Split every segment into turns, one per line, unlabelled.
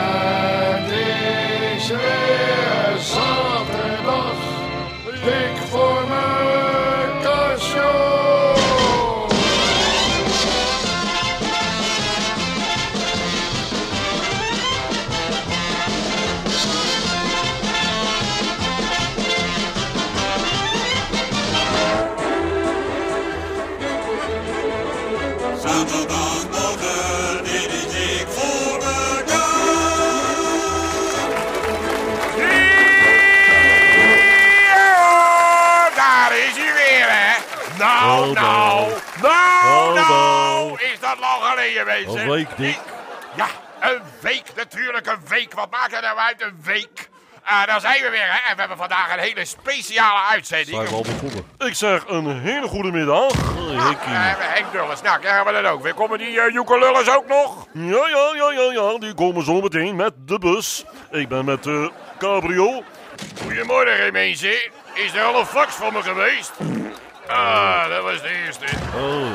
Het is weer zaterdag, dik voor mijn kastje.
Zaterdagmorgen, dit is dik voor elkaar. Ja, Oh, daar is hij weer, hè. Nou,
Oh,
nou,
Oh,
nou, nou,
nou.
is dat lang geleden, mensen.
Een week, Dick.
Ja, een week, natuurlijk een week. Wat maakt er nou uit, een week? Ah, daar zijn we weer, hè. En we hebben vandaag een hele speciale uitzending.
Zijn we al begonnen?
Ik zeg een hele goede middag.
Ah,
Hoi,
We
Henkie.
hebben Henk Dulles, nou, daar hebben we dat ook. weer. Komen die eh, Joeke Lulles ook nog?
Ja, ja, ja, ja, ja. Die komen zo meteen met de bus. Ik ben met de cabrio.
Goedemorgen mensen. Is er al een fax van me geweest? Ah, dat was de eerste.
Oh,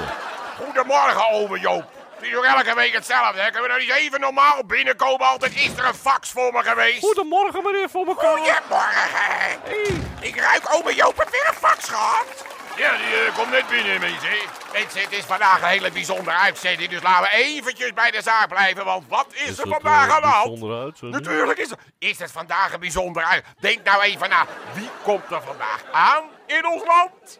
Goedemorgen, ome Joop. Het is ook elke week hetzelfde. Hè? Kunnen we nou eens even normaal binnenkomen? Altijd is er een fax voor me geweest.
Goedemorgen meneer voor elkaar.
Goedemorgen. Ik ruik ome Joop heeft weer een fax gehad. Ja, die eh, komt net binnen, mensen. Mensen, het is vandaag een hele bijzondere uitzending. Dus laten we eventjes bij de zaak blijven. Want wat is,
is
er
dat
vandaag
eh,
aan de hand?
bijzonder uitzending?
Natuurlijk is het. Is het vandaag een bijzonder uit? Denk nou even na. Wie komt er vandaag aan in ons land?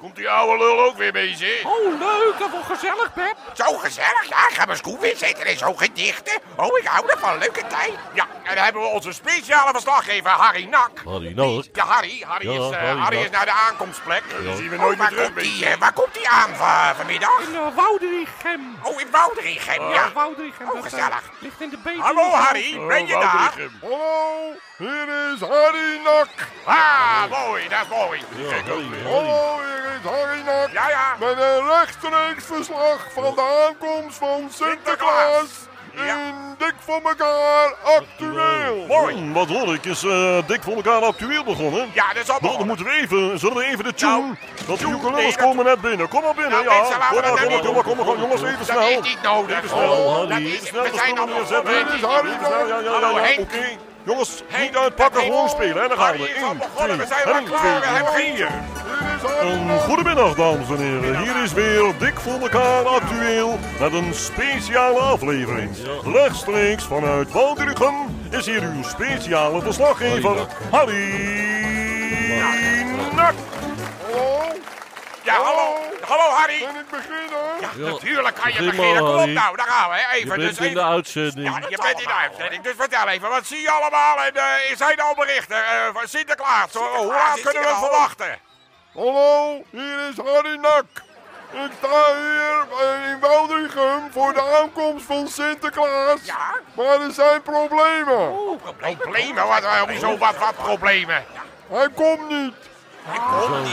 Komt die oude lul ook weer mee, zeg?
Oh leuk, dat wordt gezellig Pep.
Zo gezellig, ja. Ik ga mijn schoen weer zetten en zo gedichten. Oh, ik hou ervan. Leuke tijd. Ja, en dan hebben we onze speciale verslaggever Harry Nak.
Harry Nak?
Ja, Harry. Harry,
Ja,
is, eh, Harry
Harry Nak. Oh,
is naar de aankomstplek.
Die zien
we nooit waar, komt die, eh, waar komt die aan va- vanmiddag?
In uh, Woudrichem.
Oh, in Woudrichem, ja.
Ja,
Oh,
Woudrichem. dat, eh,
gezellig.
ligt in de Betuwe.
Hallo Harry, ben je daar?
Hallo, hier is Harry Nak.
Ah, mooi, dat is mooi.
Ja, Harry, Harry.
Hallo, hier is Harry Nak.
Ja, ja.
Met een rechtstreeks verslag van de aankomst van Sinterklaas.
Ja.
In Dik voor elkaar actueel.
Mooi.
Hm, wat hoor ik, is eh dik voor elkaar actueel begonnen.
Ja, dat is
Nou,
allemaal.
dan moeten we even, zullen we even de
Nou,
tune. Dat de
tune,
joekelulles
nee, dat-
komen net binnen. Kom maar binnen,
Nou, mensen,
ja.
laten we
Kom maar,
dat
kom maar,
nou
kom
niet
maar, kom maar, kom- jongens, even
Dat
snel.
is niet nodig.
Even snel,
Oh,
Harry.
dat is,
Snel
we
de
zijn
spullen
allemaal
neerzetten.
begonnen.
Dit is Harry
Dit
Even snel, ja, ja, ja,
Hallo,
ja,
Henk.
oké. Jongens,
Henk,
niet uitpakken,
Henk.
gewoon spelen. En dan gaan we.
Harry is al
Eén,
begonnen, we
twee,
zijn al
één,
klaar.
twee,
We hebben
drie.
hier.
Hier is Harry
Oh.
Een
Nak.
goedemiddag, dames en heren. Hier is weer Dik voor elkaar actueel met een speciale aflevering. Rechtstreeks vanuit Woudrichem is hier uw speciale verslaggever, Harry Nak.
Hallo,
Ja, hallo. Hallo Harry.
kan ik beginnen?
Ja,
Ja.
natuurlijk kan je
Begin maar,
beginnen. Kom op
Harry.
nou, daar gaan we. hè.
Je
Even, dus
bent in de
even. Ja,
uitzending.
je bent in de uitzending, dus vertel even, wat zie je allemaal en eh, zijn er al berichten eh, van Sinterklaas? Hoe laat
is
kunnen we
hier
het
al.
verwachten?
Hallo, hier is Harry Nak. Ik sta hier eh, in Woudrichem voor de aankomst van Sinterklaas.
Ja?
Maar er zijn problemen.
Problemen? Wat, eh, hoezo, wat, wat problemen?
Hij komt niet.
Zo komt hij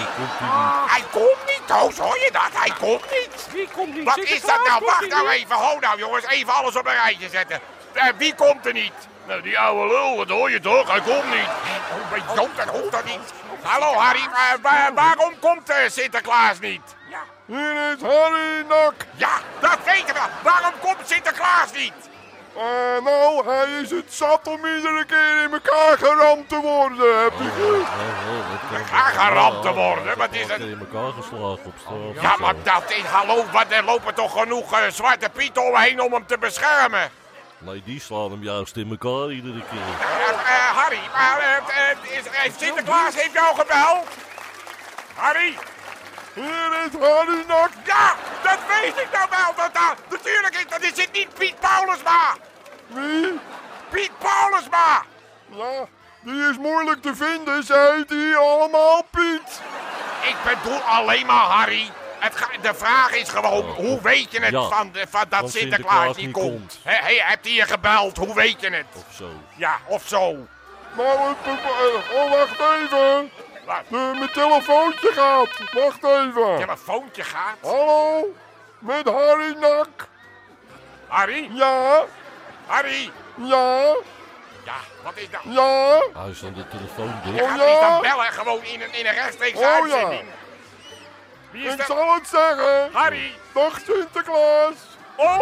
Hij komt niet, Toos, hoor je dat? Hij komt niet.
Wie komt niet?
Wat is dat nou? Wacht nou
even.
even, ho nou jongens, even alles op een rijtje zetten. Eh, wie komt er niet? Nou, die oude lul, dat hoor je toch? Hij komt niet. Oh, mijn god, dat hoeft toch niet? Hallo Harry, eh, wa- waarom komt eh, Sinterklaas niet?
Hier is Harry Nak.
Ja, dat weten we. Waarom komt Sinterklaas niet?
Eh, nou, hij is het zat om iedere keer in elkaar geramd te worden. Heb je gehoord?
niet.
Elkaar geramd te worden, wat is
het?
het?
in elkaar geslagen op straat.
Ja, maar dat is... Hallo, wat, er lopen toch genoeg eh, zwarte pieten omheen om hem te beschermen?
Nee, die slaan hem juist in elkaar iedere keer.
Eh, eh, Harry, maar, eh, eh, is, eh, Sinterklaas heeft jou gebeld? Harry?
Hier is Harry Nak.
Ja, dat weet ik nou wel. Dat, daar natuurlijk is, dat is het niet Piet Paulusma.
Wie?
Piet Paulusma.
Ja, die is moeilijk te vinden. Ze heten hier allemaal Piet.
Ik bedoel alleen maar Harry. Het ga- de vraag is gewoon, hoe weet je het
Ja,
van, de- van dat Sinterklaas
dat Oh, Sinterklaas
niet
niet
komt?
komt.
He, he, hebt hij je gebeld? Hoe weet je het?
Of zo.
Ja, of zo.
Nou, het be- eh, oh, wacht even.
Wat?
De, mijn telefoontje gaat. Wacht even.
Telefoontje gaat.
Hallo, met Harry Nak.
Harry?
Ja,
Harry?
ja,
Ja, wat is dat?
ja.
Hij is aan de telefoon, dus.
Je
Dick.
gaat
Oh, ja?
niet dan bellen, gewoon in een, in een rechtstreekse
Oh ja.
uitzending. Wie is
Ik
dat?
zal het zeggen.
Harry.
Dag Sinterklaas.
Oh,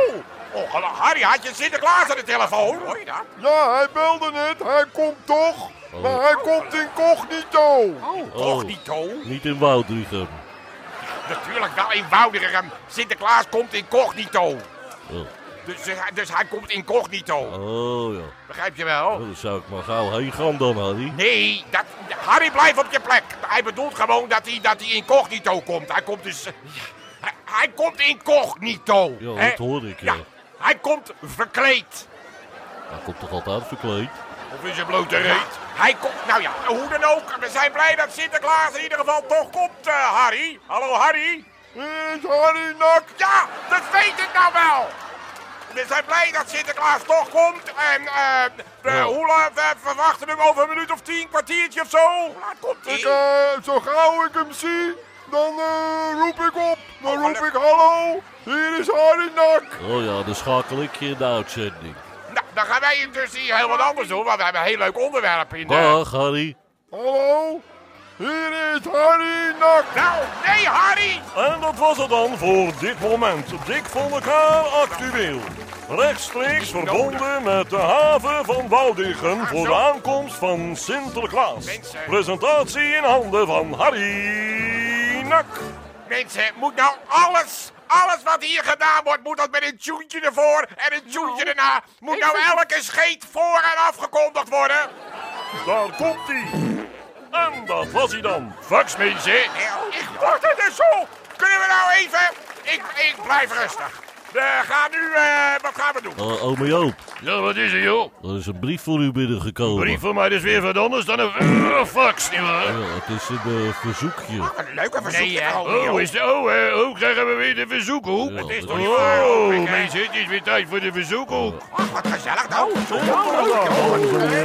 ongelukkig. Harry, had je Sinterklaas aan de telefoon? Hoor je dat?
Ja, hij belde net. Hij komt toch. Maar hij komt incognito.
Oh,
Oh.
toch niet, hoor.
Niet in Woudrichem.
Natuurlijk wel eenvoudiger. Sinterklaas komt incognito.
Oh.
Dus, eh, dus hij komt incognito.
Oh ja,
Begrijp je
Nou,
wel?
dan zou ik maar gauw heen gaan dan, Harry.
Nee, dat, Harry blijft op je plek. Hij bedoelt gewoon dat hij, dat hij incognito komt. Hij komt dus... eh, Hij, hij komt incognito.
Ja,
hè?
dat hoor ik, ja.
Ja, hij komt verkleed.
Hij komt toch altijd verkleed?
Of in zijn blote reet. Hij komt, nou ja, hoe dan ook. We zijn blij dat Sinterklaas in ieder geval toch komt, eh, Harry. Hallo, Harry.
Hier is Harry Nak.
Ja, dat weet ik nou wel. We zijn blij dat Sinterklaas toch komt. En eh, de,
Ja.
hoe laat? We verwachten hem over een minuut of tien, kwartiertje of zo. Hoe laat komt hij?
Ik, eh, zo gauw ik hem zie, dan eh, roep ik op. Dan
Oh,
roep
hallo.
ik hallo. Hier is Harry Nak.
Oh ja, dan schakel ik je in de uitzending.
Nou, dan gaan wij hem dus hier heel wat anders doen. Want we hebben een heel leuk onderwerp in. eh. de-
Dag, Harry.
Hallo. Hier is Harry Nak.
Nou, nee, Harry.
En dat was het dan voor dit moment. Dik voor elkaar actueel. Rechtstreeks verbonden met de haven van Woudingen voor de aankomst van Sinterklaas. Presentatie in handen van Harry Nak.
Mensen, moet nou alles, alles wat hier gedaan wordt, moet dat met een tuintje ervoor en een tuintje erna. Moet nou elke scheet voor en afgekondigd worden.
Daar komt hij. En dat was hij dan.
Fax, mensen. Nou, Ik word er dus zo. Kunnen we nou even... Ik, ik blijf rustig. We gaan nu... eh, wat gaan we doen?
Eh ome Joop,
Ja, wat is er, joh?
er is een brief voor u binnengekomen.
Brief van mij is weer wat anders dan een eh, fax, nietwaar?
Ja, het is een eh, verzoekje.
Ah, Wat een leuke verzoekje. van Ome Joop.
Oh, is de, oh, eh, oh, krijgen we weer de verzoekhoek?
Ja,
Het is
dat
toch
is-
niet waar, hoor,
Oh,
Mick, hè?
mensen, het is weer tijd voor de verzoekhoek. Oh,
Ach, wat gezellig nou.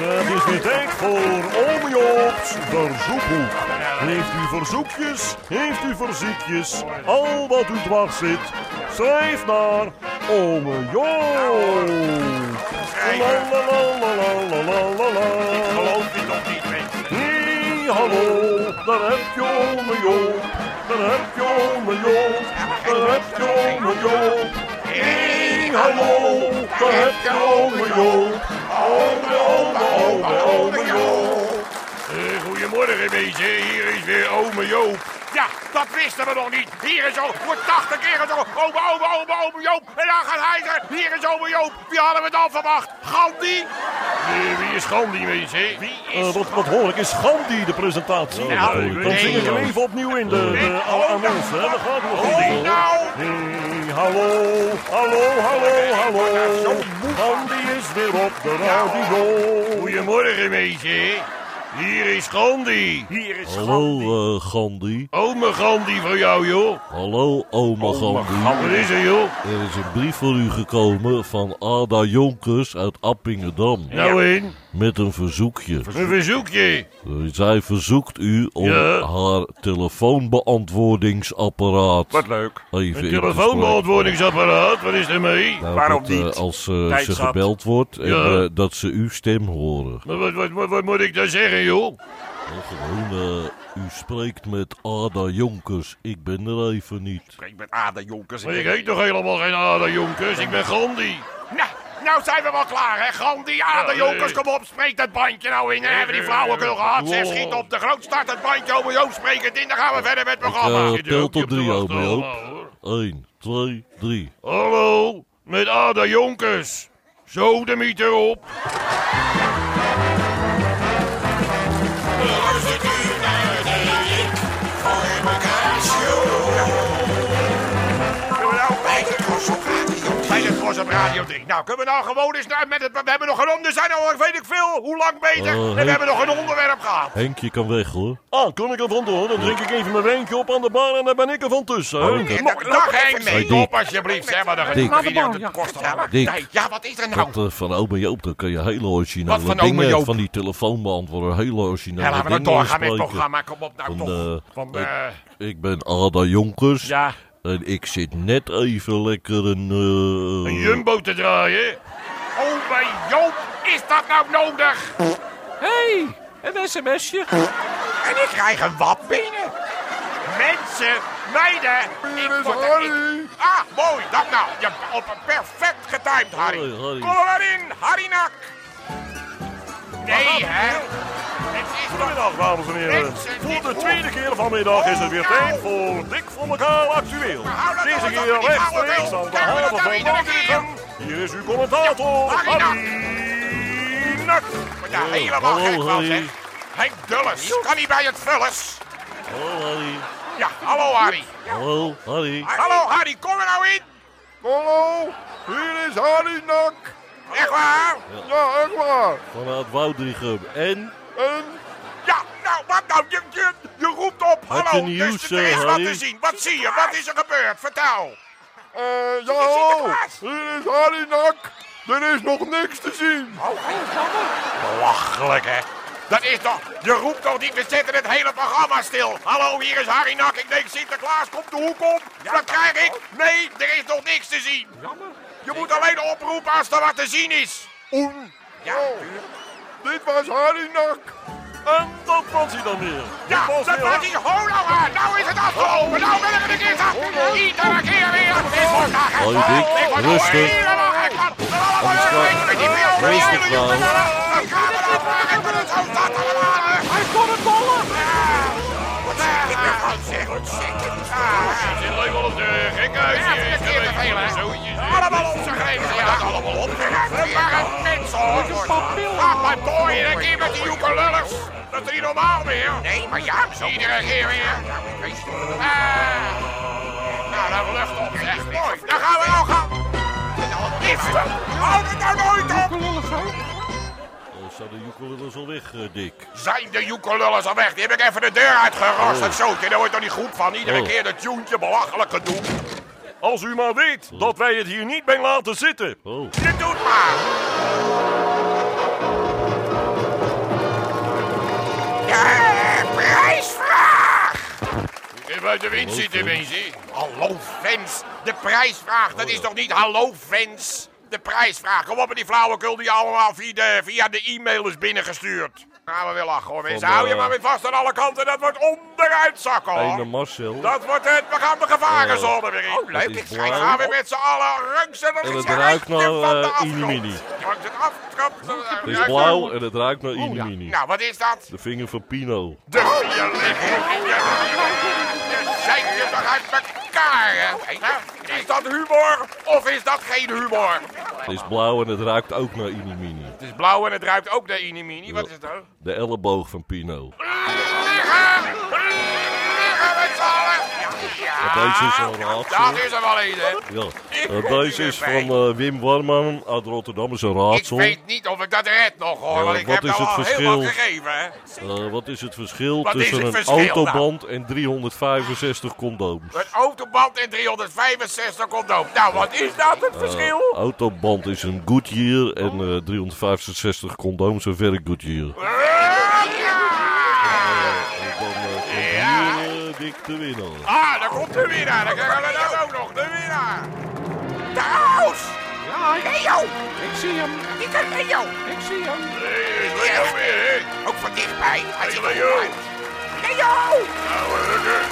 Het is weer tijd voor Oom Joop's verzoekhoek. Heeft u verzoekjes? Heeft u verziekjes? Al wat u dwars zit, schrijf naar Oom Joop. La la la la la la la la.
Geloof je nog niet, mensen?
Hey, hallo, daar heb je Oom Joop. Daar heb je Oom Joop. Daar heb je Oom Joop. Hey, hallo, daar heb je Oom Joop.
Eh, goedemorgen, mensen, hier is weer ome Joop.
Ja, dat wisten we nog niet. Hier is al voor 80 keer zo. Ome, ome, ome, ome Joop. En dan gaat hij zeggen, hier is ome Joop. Wie hadden we dan verwacht? Gandhi?
Eh, wie is Gandhi, mensen?
Wie
Eh,
is...
wat, wat hoor ik, is Gandhi de presentatie.
Nou,
Dan
nee,
zing ik hem
joh.
even opnieuw in de,
Nee,
de
oh,
aan ons, hè. Dan gaat
Eh,
nog een
Oh,
ding.
nou.
Hey, hallo, hallo, hallo, hallo. Gandhi is weer op de radio.
Goedemorgen, mensen. Hier is Gandhi.
Hier is
Hallo, eh, Gandhi.
Ome Gandhi voor jou, joh.
Hallo, oma Gandhi.
Wat is er, joh?
Er is een brief voor u gekomen van Ada Jonkers uit Appingedam.
Nou in,
Met een verzoekje.
een verzoekje.
Eh, Zij verzoekt u om
Ja.
haar telefoonbeantwoordingsapparaat
Wat leuk.
even
Een
in te spreken.
telefoonbeantwoordingsapparaat, wat is er mee?
Nou,
Waarom
dat, eh,
niet?
als eh,
Tijd
ze
zat.
gebeld wordt en
Ja.
eh, dat ze uw stem horen.
Maar wat, wat, wat, wat moet ik dan zeggen, joh?
Nou, gewoon, eh, u spreekt met Ada Jonkers. Ik ben er even niet.
Ik ben Ada Jonkers.
Maar
Ik
ik
denk-
heet toch helemaal geen Ada Jonkers, ik ben Gandhi.
Nou, nou zijn we wel klaar, hè? Gandhi, Ada
Ja, eh.
Jonkers,
nee.
kom op, spreek dat bandje nou in. Dan hebben we die
Eh, eh,
flauwekul gehad. Zeg,
wow.
schiet op de groot, start het bandje, ome Joop, spreek het in. Dan gaan we verder met het
Eh,
programma.
zit hier
tel
ook niet
tot
op te
drie,
wachten
oma Joop.
allemaal, hoor.
1, 2, 3.
Hallo, met Ada Jonkers. Zo de mieter op.
Kunnen we nou bij de Tros op Radio 3? Bij de Tros op Radio 3. Nou, kunnen we nou gewoon eens naar met het... We hebben nog een om, er zijn al, weet ik veel, hoe lang bezig.
Oh,
en
Henk.
we hebben nog een onderwerp gehad.
Henk, je kan weg hoor.
Ah, kon ik er vandoor? Dan drink ik even mijn wijntje op aan de bar en dan ben ik er van tussen. hè.
Oké.
En dat- Dag Henk,
mee.
stop op alsjeblieft, zeg maar. Dan
Dik.
gaat
Laat
het
de bal,
kosten allemaal
Dik.
tijd. Ja, wat is er nou?
Dat eh, van Ome Joop, dan kan je hele originele
Wat van ome
dingen
Joop?
van die telefoonbeantwoorder. Hele originele
eh,
Ja, laten we dan
dingen
doorgaan met het programma.
inspreken.
Kom op, nou
Van,
toch. Van,
eh, ik-
eh,
Ik ben Ada Jonkers.
Ja.
En ik zit net even lekker een... eh,
Een jumbo te draaien.
Oh, mijn Joop, is dat nou nodig?
Hé, hey, een sms'je.
En ik krijg een wat binnen. Mensen, Meiden!
Hier
ik
is
word er-
Harry.
ik- Ah, mooi, dat nou. Je op een perfect getimed, Harry.
Hoi, Harry.
Kom er maar in, Harry Nak. Nee, hè? Het is toch...
Goedemiddag, dames en heren. Voor de tweede keer vanmiddag is het weer tijd voor Dik voor elkaar actueel. Deze keer rechtstreeks aan de halve van Woudrichem. Hier is uw commentator, Harry Nak.
Word
Oh,
daar helemaal
hallo,
gek van,
Harry.
zeg. Henk Dulles, kan hij bij het vulles?
Hallo Harry.
Ja, hallo, Harry.
Hallo Harry.
Hallo, Harry, kom er nou in.
Hallo, hier is Harry Nak.
Echt waar?
Ja, echt waar.
Vanuit Woudrichem. En
En
Ja, nou, wat nou? Je, je, je roept op.
Heb
Hallo,
je nieuws,
dus er is
eh,
wat
Harry?
te zien. Wat zie je? Wat is er gebeurd? Vertel.
Eh, ja,
Hier zit de
hallo.
Klaas.
Hier is Harry Nak. Er is nog niks te zien.
Oh. Belachelijk, hè? Dat is toch... Je roept toch niet, we zetten het hele programma stil. Hallo, hier is Harry Nak. Ik denk Sinterklaas komt de hoek om. Wat krijg ik? Nee, er is nog niks te zien.
Jammer.
Je moet alleen oproepen als er wat te zien is.
Oen.
Ja,
Dit was Harry Nak.
En dat was hij dan weer.
ja
Dit was
dat
weer
was die holo aan. Nou is het afgelopen. Nou willen we de keer af. Iedere keer weer. Ik word daar gek
Hoi,
van.
Dick.
Ik word daar
Rustig.
helemaal gek van.
Alles
Ik
goed.
weet niet meer hoe we
Rustig,
jullie moeten
nou.
doen. Dan gaan we dat maken. Ik ben het zo zat allemaal.
Hij kon het ballen.
Wat zeg ik nou? Wat zeg ik? Wat zeg ik? Ah.
Het lijkt wel op de gekhuis
Ja,
hier.
verkeerd
Het lijkt wel
te
op
veel, hè?
zootjes.
Allemaal opgegeven, ja. Allemaal opgegeven. We waren mensen, hoor. Ah, maar door iedere keer met die ukuleles. Dat is niet normaal meer. Nee, maar ja, iedere keer weer. Ah. Nou, dat lucht op, zeg. Mooi, dan gaan we nou gaan. Giften, houd het nou nooit op.
Lullen zo.
eh, zijn de ukuleles al weg, eh, Dick.
Zijn de joekelullen al weg? Die heb ik even de deur uitgerost. Dat zootje, daar hoort toch die groep van. Iedere
Oh.
keer dat tuentje, belachelijk gedoe.
Als u maar weet dat wij het hier niet bij laten zitten.
Oh,
Je doet maar. De prijsvraag!
Even uit de wind zitten, mensen.
Hallo fans, de prijsvraag, dat is toch niet hallo fans? De prijsvraag, kom op met die flauwekul die allemaal via de, via de e-mail is binnengestuurd. Gaan we weer lachen hoor mensen,
Van,
hou je
eh,
maar weer vast aan alle kanten, dat wordt onderuit zakken
ene
hoor.
Marcel.
Dat wordt het, we gaan de gevarenzone weer in.
Oh, leuk. Het is
Ik ga
blauw.
weer met z'n allen runksen
En
is
het ruikt naar
van de
eh,
afgrond.
inimini.
Langs het eh, aftrapt.
Het is blauw en het ruikt naar inimini.
Nou, wat is dat?
De vinger van Pino.
De vierliggende zijn je toch uit elkaar, hè? Nou, Is dat humor of is dat geen humor?
Het is blauw en het ruikt ook naar inimini.
Het is blauw en het ruikt ook naar inimini. Wat is het dan? Ah,
De elleboog van Pino.
Liggen! Liggen met z'n allen! Ja,
Deze is al
dat
raad, zeg.
is er wel een, hè?
Ja. Eh, deze is van eh, Wim Warman uit Rotterdam. Is een
Ik
raadsel.
weet niet of ik dat red nog, hoor.
Ja,
want ik
wat
heb
is
nou
het
al heel
verschil?
wat gegeven, hè?
Eh, wat is het verschil
Wat is
tussen
het
een
verschil nou?
autoband en 365 condooms?
Een autoband en 365 condoom. Nou, wat is dat
Eh,
het verschil?
Autoband is een Goodyear en eh 365 condooms een very Goodyear.
Eh,
En dan eh, komt hier eh, Dick de winnaar.
Ah, daar komt de winnaar. Dan krijgen we dat ook nog, de winnaar. Trouwens,
Ja, ik,
Leo,
ik zie hem.
die kan Leo.
Ik zie hem.
Hé, is lekker weer, hè?
Ook van dichtbij. Hij ziet er
Leo.
goed uit. Leo!
Nou, lekker.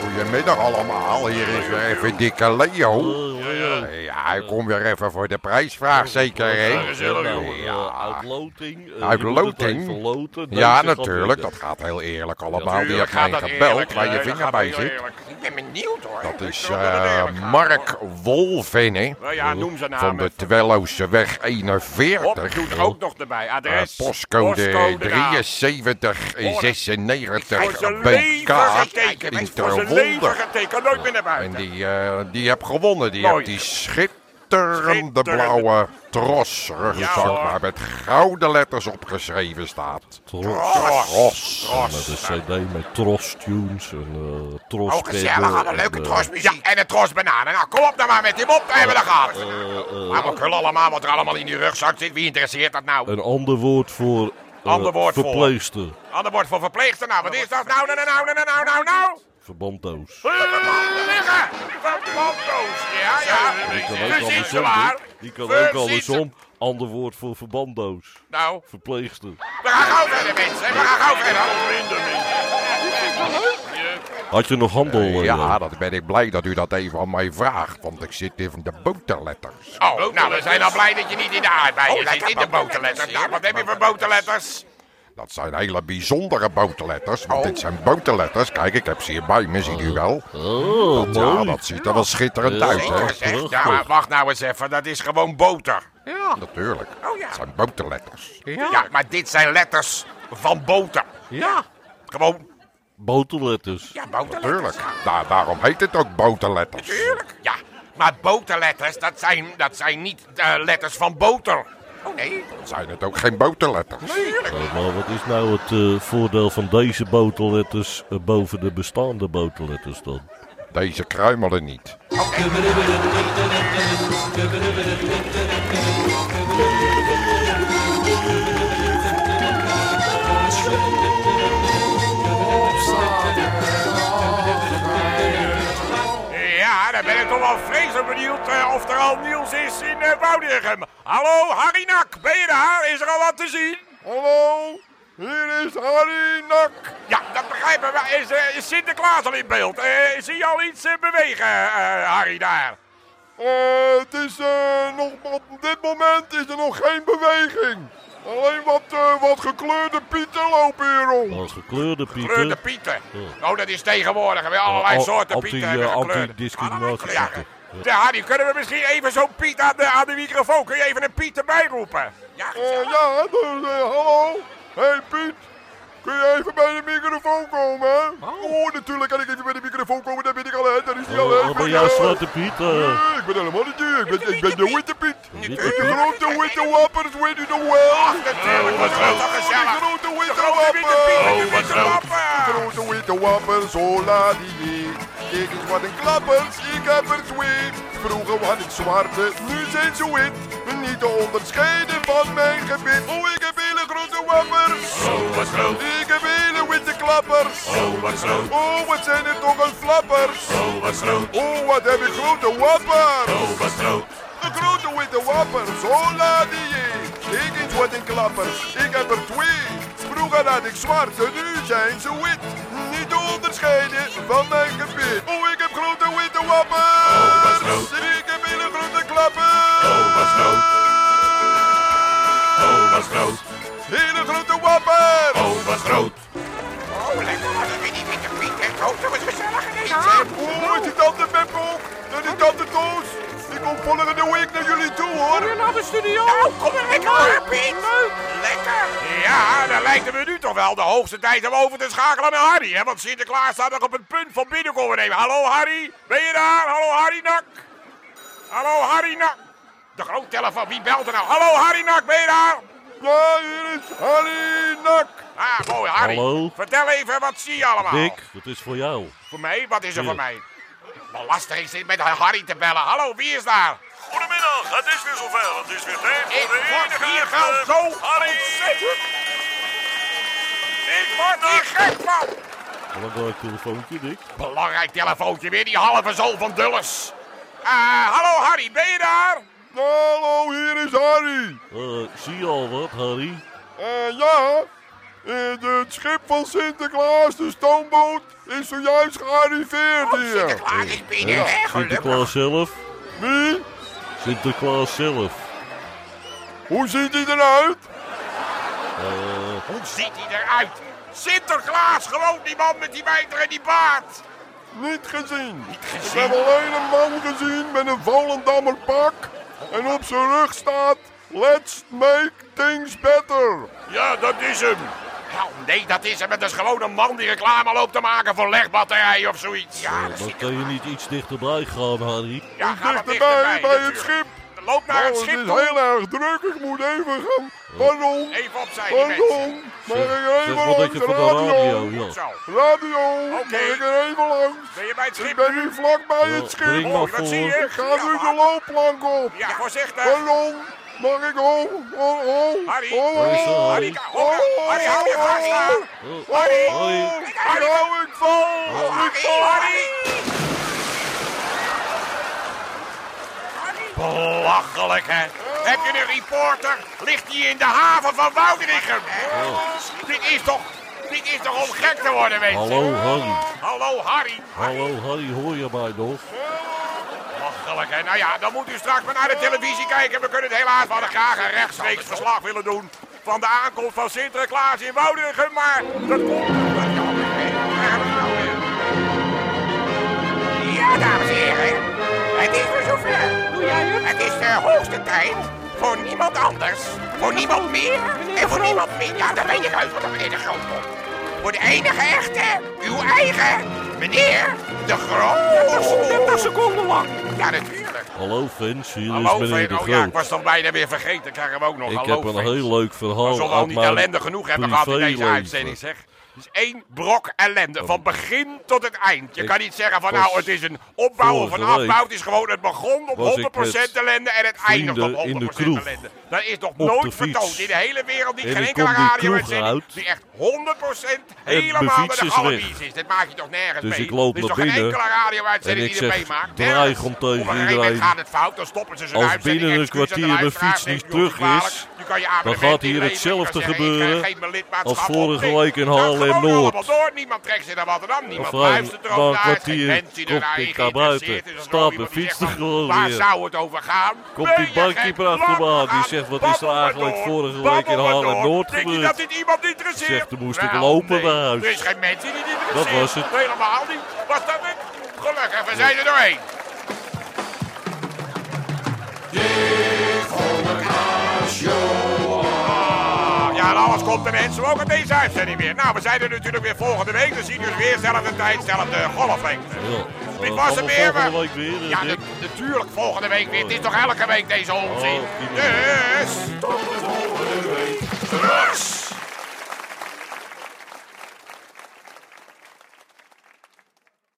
Goedemiddag allemaal. Hier is weer even dikke Leo.
Oh, ja, ja.
Ja, hij komt weer even voor de prijsvraag, zeker hè?
gezellig,
Nou,
jongen.
eh, Uit loting. eh,
Uit
je moet het
loting?
even loten. Deze
Ja,
gaat
natuurlijk.
winnen.
Dat gaat heel eerlijk allemaal. Die
Tuurlijk
heeft
gaat
mij
dat
gebeld
eerlijk,
waar
hè,
je
dat
vinger
gaat
bij
heel
zit.
eerlijk. Ik ben benieuwd hoor.
Dat
Ik
is
wil dat het
eh,
eerlijk gaat,
Mark
hoor.
Wolven, hè?
Nou ja, noem zijn naam.
Van de
even.
Twelloseweg
Hop,
41.
doet er ook nog erbij.
Eh,
Adres.
postcode
naam.
73
Hoor,
96
Voor zijn
BK.
leven getekend.
In
Voor zijn leven
Terwolde.
getekend. Nooit meer naar
En
buiten.
die, eh, die heb gewonnen. Die
Mooi.
heeft die schitterende
Schitterende-
blauwe tros rugzak
Ja, hoor.
waar met gouden letters opgeschreven staat.
Trots.
Oh. Tros.
Met een cd met Tros tunes en eh Tros
Nou, Oh, gezellig.
pedal
Allemaal
en,
leuke
eh,
trosmuziek. Ja, en een tros bananen. Nou, kom op dan maar met die mop. Daar hebben we daar gehad.
eh, eh,
Maar we kullen allemaal wat er allemaal in die rugzak zit. Wie interesseert dat
Eh.
nou?
een ander woord voor eh,
Ander woord voor.
verpleegster.
Ander woord voor verpleegster. Nou, wat is dat? Nou, nou, nou, nou, nou, nou, nou, nou.
Verbanddoos.
Liggen. Verbanddoos. Ja, ja.
Die kan ook
Verzin
andersom.
ze maar.
Dick. Die kan ook
Verzin ze-
andersom. Ander woord voor verbando's.
Nou,
Verpleegster.
we gaan gauw verder, mensen. We gaan gauw verder. Oh,
Minder mensen.
Had je nog handel? eh,
Ja, dat ben ik blij dat u dat even aan mij vraagt, want ik zit in de boterletters.
Oh, nou, we zijn al blij dat je niet in de aardbeien
Oh,
zit. In de
lekker
boterletters.
boterletters,
Nou, wat heb je voor boterletters?
Dat zijn hele bijzondere boterletters, want dit zijn boterletters. Kijk, ik heb ze hier bij me, ziet u wel?
Oh,
Ja,
mooi.
dat ziet er wel schitterend
Ja.
uit,
Zeker
hè?
gezegd.
terug,
Ja, maar wacht nou eens even. Dat is gewoon boter.
Ja,
Natuurlijk,
Oh ja.
het zijn boterletters.
Ja,
ja,
maar dit zijn letters van boter.
ja.
Gewoon,
Boterletters.
ja, boterletters.
Natuurlijk, Daar- daarom heet het ook boterletters.
Tuurlijk. Ja, maar boterletters, dat zijn, dat zijn niet eh, letters van boter. Oh nee.
Dan zijn het ook geen boterletters.
Eh, Maar wat is nou het eh, voordeel van deze boterletters eh, boven de bestaande boterletters dan?
Deze kruimelen niet.
Ja, dan ben ik toch wel vreselijk benieuwd eh, of er al nieuws is in eh Woudrichem. Hallo, Harry Nak, ben je daar? Is er al wat te zien?
Hallo, hier is Harry Nak.
Ja, dat begrijpen we. Is, eh, is Sinterklaas al in beeld? Eh, zie je al iets eh, bewegen, eh, Harry, daar?
Eh, het is eh, nog, op dit moment is er nog geen beweging. Alleen wat, eh, wat gekleurde pieten lopen hier rond.
Als gekleurde pieten.
Kleur de pieten. Oh, dat is tegenwoordig. We allerlei
Al-
soorten
anti-
pieten.
eh,
hebben gekleurd.
antidiscriminatie
Allerlei kleuren.
pieten. Ja.
Ja, Harry, kunnen we misschien even zo'n Piet aan de, aan de microfoon? Kun je even een Piet erbij roepen? Ja,
Eh,
gezellig.
ja, dus, eh, hallo. hey, Piet. Kun je even bij de microfoon komen? hè? Oh, natuurlijk kan ik even bij de microfoon komen. Daar ben ik al uit. Daar is hij al
Oh,
uit.
ben
Ik,
jij
eh,
Zwarte Piet? eh?
eh, Ik ben helemaal niet hier. Ik ben, ik ben de witte Piet.
Witte
De
Piet.
grote witte wappers, weet u nog wel?
Natuurlijk, Oh, wat groot en
De
gezellig.
grote
De
witte
grote witte Piet met
wappers. Oh,
de witte lappen.
Grote witte wappers, hola die jeet. Kijk eens wat een klappers, ik heb er twee. Vroeger had ik zwarte, nu zijn ze wit. Niet te onderscheiden van mijn gebit. Oh, ik heb hele grote wappers.
Oh, wat groot.
Ik heb hele witte klappers.
Oh, wat groot.
Oh, wat zijn er toch een flappers.
Oh, wat groot.
Oh, wat heb ik grote wappers.
Oh, wat groot.
De grote witte wappers, hola die jeet. Kijk eens wat een klappers, ik heb er twee. Vroeger had ik zwarte, nu zijn ze wit. Niet te onderscheiden van mijn gebit. Oh, ik heb grote witte
Oh, wat
wappers.
groot.
ik heb hele grote klappers.
Oh, wat groot. Oh, wat groot.
Hele grote wappers.
Oh, wat groot.
Oh, lekker. Wat heb je die witte Piet? hè? Oh, dat was gezellig ineens.
Ja.
hè?
Oh, is die tante Pep ook? Dat is tante Toos. Ik kom volgende week naar jullie toe, hoor.
Kom je naar de studio?
Nou, kom er lekker naar, Piet.
Leuk.
Lekker. Ja, dan lijkt het me nu toch wel de hoogste tijd om over te schakelen naar Harry. Hè? Want Sinterklaas staat nog op het punt van binnenkomen nemen. Hallo Harry, ben je daar? Hallo Harry Nak. Hallo Harry Nak. De groottelefoon, wie belt er nou? Hallo Harry Nak, ben je daar?
Ja, hier is Harry Nak.
Ah, mooi Harry.
Hallo.
Vertel even, wat zie je allemaal?
Dick, dat is voor jou.
Voor mij? Wat is er
Ja.
voor mij? Wel lastig is dit met Harry te bellen. Hallo, wie is daar?
Goedemiddag, het is weer zover. Het is weer tijd
Ik
voor de
word
enige
hier
echte
wel zo
Harry.
ontzettend... Ik word hier gek van!
Belangrijk telefoontje, Dick.
Belangrijk telefoontje weer, die halve zoon van Dulles. Eh, hallo Harry, ben je daar? Oh,
Hallo, hier is Harry.
Eh, zie je al wat, Harry?
Eh, ja, eh, de- het schip van Sinterklaas, de stoomboot, is zojuist gearriveerd
Oh,
hier.
Sinterklaas is binnen, hè? Gelukkig.
Sinterklaas zelf?
Wie?
Sinterklaas zelf.
Hoe ziet hij eruit?
Eh,
Hoe ziet hij eruit? Sinterklaas, gewoon die man met die mijter en die baard.
Niet gezien. Ik
gezien?
heb alleen een man gezien met een Volendammer pak. En op zijn rug staat, let's make things better.
Ja, dat is hem.
Nou, nee, dat is hem. Het is gewoon een man die reclame loopt te maken voor legbatterijen of zoiets. Ja, dat
dan kan je niet iets dichterbij gaan, Harry.
ja, ga maar
Dichterbij bij het
natuurlijk.
schip.
Loop naar het
Oh,
schip
het is
toe.
heel erg druk. Ik moet even gaan. Pardon.
Even opzij, die mensen.
Pardon. Mag ik er
Zeg
even
wat dat
langs?
je van de radio,
Radio.
ja.
Zo,
Radio. Mag
Oké.
ik er even langs?
ben je bij het
Ik
schip?
ben nu vlakbij het
Breng
schip.
maar
Mooi, wat zie
voor.
je?
Ik ga nu de
Ja,
loopplank op.
Ja, voorzichtig.
Pardon. Mag ik om? Oh, oh.
Harry.
Oh,
Hoi, zo,
oh.
Harry, hou Harry, hou je vast aan.
Oh,
Harry.
Hoi.
Ik hou ik vol. Ik
Harry,
val.
Harry. Harry. Belachelijk, hè? Heb je een reporter? Ligt hij in de haven van Woudrichem?
Oh.
Dit is toch... Dit is toch om gek te worden, mensen?
Hallo Harry.
Hallo, Harry.
Hallo Harry, hoor je mij nog?
Belachelijk, hè? Nou ja, dan moet u straks maar naar de televisie kijken. We kunnen het helaas wel graag een rechtstreeks verslag willen doen... van de aankomst van Sinterklaas in Woudrichem, maar... Dat komt... Ja, dames en heren. Het is weer zover.
Doe jij het?
Het is de hoogste tijd voor niemand anders, voor niemand meer en voor niemand minder. Ja, daar ben je uit van meneer de Groot komt. Voor de enige echte, uw eigen, meneer de Groot.
30 seconden lang.
Ja, natuurlijk.
Hallo fans, hier
Hallo,
is meneer de
Veen. Oh ja, ik
Groot.
was toch bijna weer vergeten. Krijgen we ook nog.
Ik
Hallo,
heb een
Veen.
heel leuk
We
verhaal
zullen al
Oh, uit
niet
mijn
ellende genoeg hebben gehad in deze
privéleven.
uitzending, zeg. Het is één brok ellende, van begin tot het eind. Je
Ik
kan niet zeggen van
was
nou, het is een opbouw of
vorige
een afbouw.
week
Het is gewoon, het begon op
was ik
100%
met
ellende en het eindigt op 100%
vrienden in de kroeg.
ellende. Dat is nog
de
nooit
fiets.
vertoond in de hele wereld, niet
En
geen
ik
enkele
kom die kroeg
radio-uitzending,
uit.
die echt 100% helemaal naar de
fiets is weg.
galabies is. Dit maak je toch nergens
Dus
mee?
ik loop
Er is
naar
toch geen
binnen
enkele radio-uitzending
en
die er
ik zeg,
meemaakt?
dreig
Nergens.
om tegen
Op een gegeven moment
iedereen,
gaat het fout, dan stoppen ze zijn
als
uitzending.
binnen een
excuses aan de
kwartier de
luisteraar,
fiets
neemt
niet
u ons
terug
kwalijk.
is,
Je kan je abonnement
gaat hier
inleveren,
hetzelfde
je kan zeggen, ik
gebeuren
krijg geen lidmaatschap
als vorige
of niks.
week in
Gaat
Haarlem
gewoon
Noord.
allemaal door, niemand trekt zich naar Rotterdam, niemand
Of, eh,
luistert
na een
erop naar, geen
kwartier
mens die
komt
ernaar
ik daar
geïnteresseerd
buiten.
is. Er is
Staat
ook iemand
de
die
fiets
zegt
er
van,
gewoon
Waar
weer?
zou het over gaan?
Komt
Ben
die
je
barkeeper
gek?
achter me
Laat
aan, die
maar
zegt, wat
gaan.
is er
Babbel maar
eigenlijk
door.
vorige
Babbel
week in
maar
Haarlem
door.
Noord
Denk je
gebeurd?
dat dit iemand interesseert?
Zegt, dan moest ik
Nou,
lopen
nee.
naar huis.
Er is geen mensen die dit interesseert.
was het.
Helemaal niet. Was dat het? Gelukkig, we zijn er doorheen. Ah, Ja, en alles komt de mensen ook in deze uitzending weer. Nou, we zijn er natuurlijk weer volgende week. Dan zien we dus weer zelfde tijd, zelfde golflengte.
Ja,
Dit
eh,
was
allemaal
hem weer.
volgende
we-
week weer, eh,
Ja,
Dick. Ah,
nat- natuurlijk volgende week weer. Het is toch elke week deze onzin.
Oh, prima.
dus... Tot de volgende week. Rust!